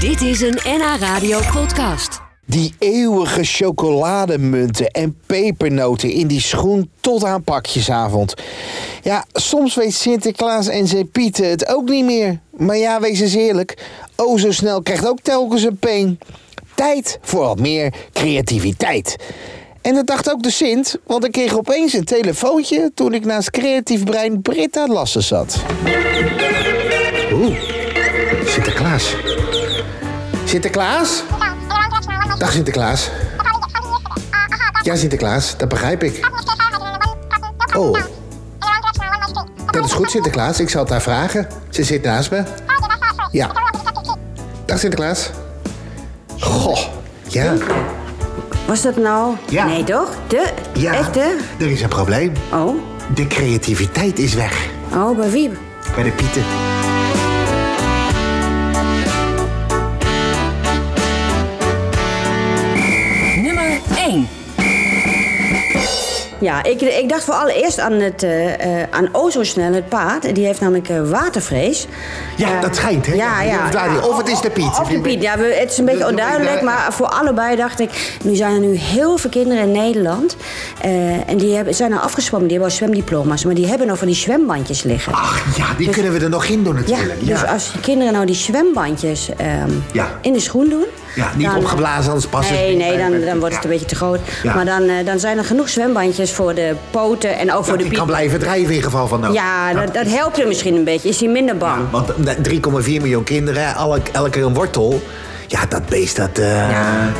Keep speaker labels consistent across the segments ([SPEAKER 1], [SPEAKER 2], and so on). [SPEAKER 1] Dit is een NH Radio podcast.
[SPEAKER 2] Die eeuwige chocolademunten en pepernoten in die schoen tot aan pakjesavond. Ja, soms weet Sinterklaas en zijn Pieten het ook niet meer. Maar ja, wees eens eerlijk. O, zo snel krijgt ook telkens een peen. Tijd voor wat meer creativiteit. En dat dacht ook de Sint, want ik kreeg opeens een telefoontje toen ik naast creatief brein Britta Lassen zat. Oeh, Sinterklaas. Sinterklaas? Dag Sinterklaas. Ja, Sinterklaas, dat begrijp ik.
[SPEAKER 3] Oh.
[SPEAKER 2] Dat is goed, Sinterklaas. Ik zal het haar vragen. Ze zit naast me.
[SPEAKER 3] Ja.
[SPEAKER 2] Dag Sinterklaas. Goh, ja.
[SPEAKER 4] Was dat nou?
[SPEAKER 2] Ja.
[SPEAKER 4] Nee, toch? De?
[SPEAKER 2] Ja,
[SPEAKER 4] Echte?
[SPEAKER 2] er is een probleem.
[SPEAKER 4] Oh.
[SPEAKER 2] De creativiteit is weg.
[SPEAKER 4] Oh, bij wie?
[SPEAKER 2] Bij de pieten.
[SPEAKER 1] Nummer 1.
[SPEAKER 4] Ja, ik, ik dacht allereerst aan, het, eh eh aan O zo snel, het paard. Die heeft namelijk eh, watervrees.
[SPEAKER 2] Ja,
[SPEAKER 4] Eh,
[SPEAKER 2] dat schijnt, hè?
[SPEAKER 4] Ja, ja.
[SPEAKER 2] Of, Daniel,
[SPEAKER 4] ja.
[SPEAKER 2] of het is de Piet.
[SPEAKER 4] Of de Piet, ja. we- Het is een beetje
[SPEAKER 2] Dat-
[SPEAKER 4] onduidelijk,
[SPEAKER 2] ja.
[SPEAKER 4] maar voor allebei dacht ik... Nu zijn er nu heel veel kinderen in Nederland. eh, en die hebben, zijn al afgezwommen, die hebben al zwemdiploma's. Maar die hebben nog van die zwembandjes liggen.
[SPEAKER 2] Ach ja, die kunnen we er nog in doen
[SPEAKER 4] Dus- Ja,
[SPEAKER 2] natuurlijk. Ah, Ja,
[SPEAKER 4] dus als die kinderen nou die zwembandjes ehm,
[SPEAKER 2] Ja.
[SPEAKER 4] in de schoen doen...
[SPEAKER 2] Ja, niet
[SPEAKER 4] dan-
[SPEAKER 2] opgeblazen, anders past het
[SPEAKER 4] Nee,
[SPEAKER 2] niet
[SPEAKER 4] nee,
[SPEAKER 2] bij-
[SPEAKER 4] dan,
[SPEAKER 2] bij-
[SPEAKER 4] dan wordt het
[SPEAKER 2] ja.
[SPEAKER 4] een beetje te groot.
[SPEAKER 2] Ja.
[SPEAKER 4] Maar dan, eh, dan zijn er genoeg zwembandjes voor de poten en ook voor de
[SPEAKER 2] die kan
[SPEAKER 4] piep.
[SPEAKER 2] blijven drijven in geval van nood.
[SPEAKER 4] Ja, dat, dat helpt hem misschien een beetje. Is hij minder bang?
[SPEAKER 2] Want eh, 3,4 miljoen kinderen, elk, elke een wortel. Ja, dat beest, dat... eh,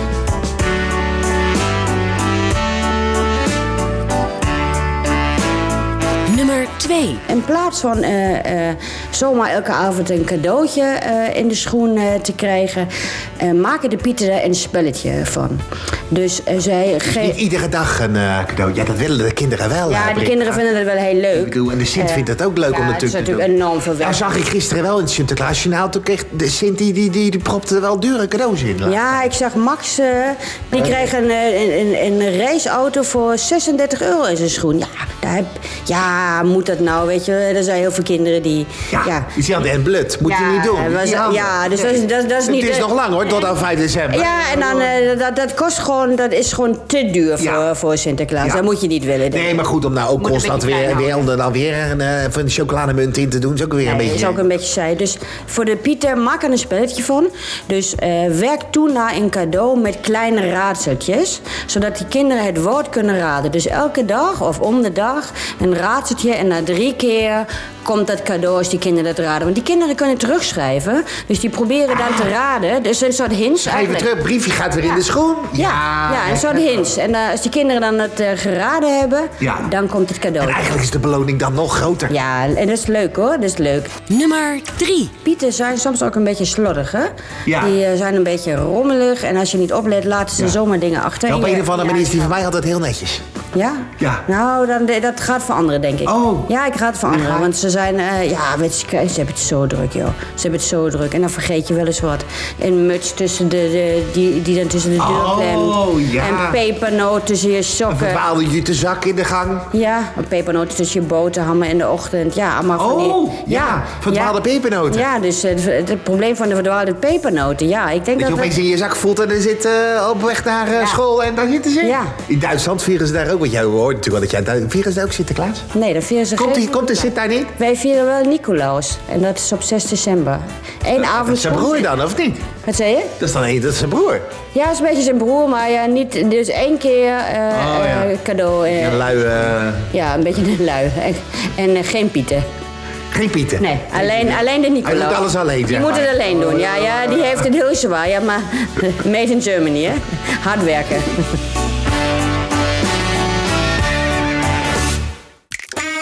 [SPEAKER 1] Nummer 2.
[SPEAKER 4] In plaats van eh, eh, zomaar elke avond een cadeautje eh, in de schoen eh, te krijgen, eh, maken de pieten er een spelletje van. Dus eh, zij
[SPEAKER 2] Niet
[SPEAKER 4] geven.
[SPEAKER 2] iedere dag een eh, cadeau. Ja, dat willen de kinderen wel. eh,
[SPEAKER 4] Ja, die
[SPEAKER 2] Britt.
[SPEAKER 4] kinderen vinden dat wel heel leuk.
[SPEAKER 2] Ik bedoel, en de Sint
[SPEAKER 4] Eh,
[SPEAKER 2] vindt dat ook leuk
[SPEAKER 4] ja,
[SPEAKER 2] om
[SPEAKER 4] het is
[SPEAKER 2] natuurlijk te
[SPEAKER 4] natuurlijk
[SPEAKER 2] doen.
[SPEAKER 4] enorm veel werk.
[SPEAKER 2] Daar zag ik gisteren wel in het Sinterklaasjournaal. Toen kreeg de Sint, die, die, die, die propte wel dure cadeaus in.
[SPEAKER 4] Ja, ik zag Max, eh,
[SPEAKER 2] Oh,
[SPEAKER 4] die kreeg een, eh, een, een, een raceauto voor 36 euro in zijn schoen. Ja, daar heb, ja, moet dat nou, weet je. Er zijn heel veel kinderen die...
[SPEAKER 2] Ja, is die aan de en blut. Moet je
[SPEAKER 4] Ja,
[SPEAKER 2] niet doen.
[SPEAKER 4] was-
[SPEAKER 2] Niet aan.
[SPEAKER 4] ja, dus dat is- dat is- dat is niet-
[SPEAKER 2] Het is nog lang hoor, tot aan 5 december.
[SPEAKER 4] Ja, en dan, eh, dat, dat kost gewoon, dat is gewoon te duur voor,
[SPEAKER 2] Ja.
[SPEAKER 4] voor Sinterklaas.
[SPEAKER 2] Ja.
[SPEAKER 4] Dat moet je niet willen. denk
[SPEAKER 2] Nee,
[SPEAKER 4] ik.
[SPEAKER 2] maar goed, om nou ook
[SPEAKER 4] Moet een
[SPEAKER 2] constant
[SPEAKER 4] beetje
[SPEAKER 2] weer, en
[SPEAKER 4] klein
[SPEAKER 2] weer, om er dan weer een, eh, van een chocolademunt in te doen, is ook weer een
[SPEAKER 4] Nee,
[SPEAKER 2] beetje...
[SPEAKER 4] is ook een beetje saai. Dus voor de Pieter, maak er een spelletje van. Dus eh, werk toe naar een cadeau met kleine raadseltjes. Zodat die kinderen het woord kunnen raden. Dus elke dag of om de dag een raadseltje. En na drie keer komt dat cadeau als die kinderen dat raden. Want die kinderen kunnen terugschrijven. Dus die proberen dan te raden. Dus een soort hints
[SPEAKER 2] Even
[SPEAKER 4] eigenlijk.
[SPEAKER 2] terug, briefje gaat weer in de schoen.
[SPEAKER 4] Ja, ja, een soort hints. En eh, als die kinderen dan het eh, geraden hebben,
[SPEAKER 2] Ja.
[SPEAKER 4] dan komt het
[SPEAKER 2] En
[SPEAKER 4] cadeau.
[SPEAKER 2] eigenlijk is de beloning dan nog groter.
[SPEAKER 4] Ja, en dat is leuk hoor, dat is leuk.
[SPEAKER 1] Nummer 3.
[SPEAKER 4] Pieten zijn soms ook een beetje slordig, hè?
[SPEAKER 2] Ja.
[SPEAKER 4] Die eh, zijn een beetje rommelig. En als je niet oplet, laten ze zomaar dingen achter.
[SPEAKER 2] Ja,
[SPEAKER 4] En
[SPEAKER 2] op
[SPEAKER 4] je-
[SPEAKER 2] een of andere
[SPEAKER 4] ja,
[SPEAKER 2] manier is die van mij altijd heel netjes.
[SPEAKER 4] Ja?
[SPEAKER 2] Ja.
[SPEAKER 4] Nou, dan, dat gaat veranderen, denk ik.
[SPEAKER 2] Oh.
[SPEAKER 4] Ja, ik ga het veranderen. Want ze zijn... eh, ja, weet je, ze hebben het zo druk, joh. Ze hebben het zo druk. En dan vergeet je wel eens wat. Een muts tussen de, de- die, die dan tussen de deur
[SPEAKER 2] Oh,
[SPEAKER 4] klemt.
[SPEAKER 2] ja.
[SPEAKER 4] En pepernoot tussen je
[SPEAKER 2] Een
[SPEAKER 4] sokken.
[SPEAKER 2] bepaalde jute zak in de gang.
[SPEAKER 4] Ja, een pepernoten tussen je boterhammen in de ochtend. Ja, allemaal van die-
[SPEAKER 2] Oh, ja, verdwaalde pepernoten.
[SPEAKER 4] Ja, dus eh, het, het probleem van de verdwaalde pepernoten. Ja, ik denk
[SPEAKER 2] Dat
[SPEAKER 4] dat...
[SPEAKER 2] je
[SPEAKER 4] we-
[SPEAKER 2] opeens in je zak voelt en er zit eh, op weg naar eh, school en daar zitten ze.
[SPEAKER 4] Ja.
[SPEAKER 2] In Duitsland vieren ze daar ook, want jij hoort natuurlijk wel dat jij... in Duitsland- Vieren ze daar ook Sinterklaas?
[SPEAKER 4] Nee, dat vieren ze
[SPEAKER 2] Komt, die,
[SPEAKER 4] geen-
[SPEAKER 2] komt de Sint daar niet?
[SPEAKER 4] Wij vieren wel Nicolaas. En dat is op 6 december. Eén
[SPEAKER 2] Dat
[SPEAKER 4] avond...
[SPEAKER 2] is zijn broer dan, of niet?
[SPEAKER 4] Wat zei je?
[SPEAKER 2] Dat is dan dat is zijn broer.
[SPEAKER 4] Ja, dat is een beetje zijn broer, maar ja, niet... Dus één keer eh,
[SPEAKER 2] Oh, ja.
[SPEAKER 4] eh, cadeau. eh,
[SPEAKER 2] Een
[SPEAKER 4] ja.
[SPEAKER 2] lui... eh,
[SPEAKER 4] een beetje een lui. En, en eh, geen pieten.
[SPEAKER 2] geen Pieten.
[SPEAKER 4] Nee, alleen, alleen de Nicolaas.
[SPEAKER 2] Hij doet alles alleen,
[SPEAKER 4] Die
[SPEAKER 2] zeg
[SPEAKER 4] moet
[SPEAKER 2] maar.
[SPEAKER 4] het alleen doen. Ja, ja, die heeft het heel zwaar. Ja, maar made in Germany, hè. Hard werken.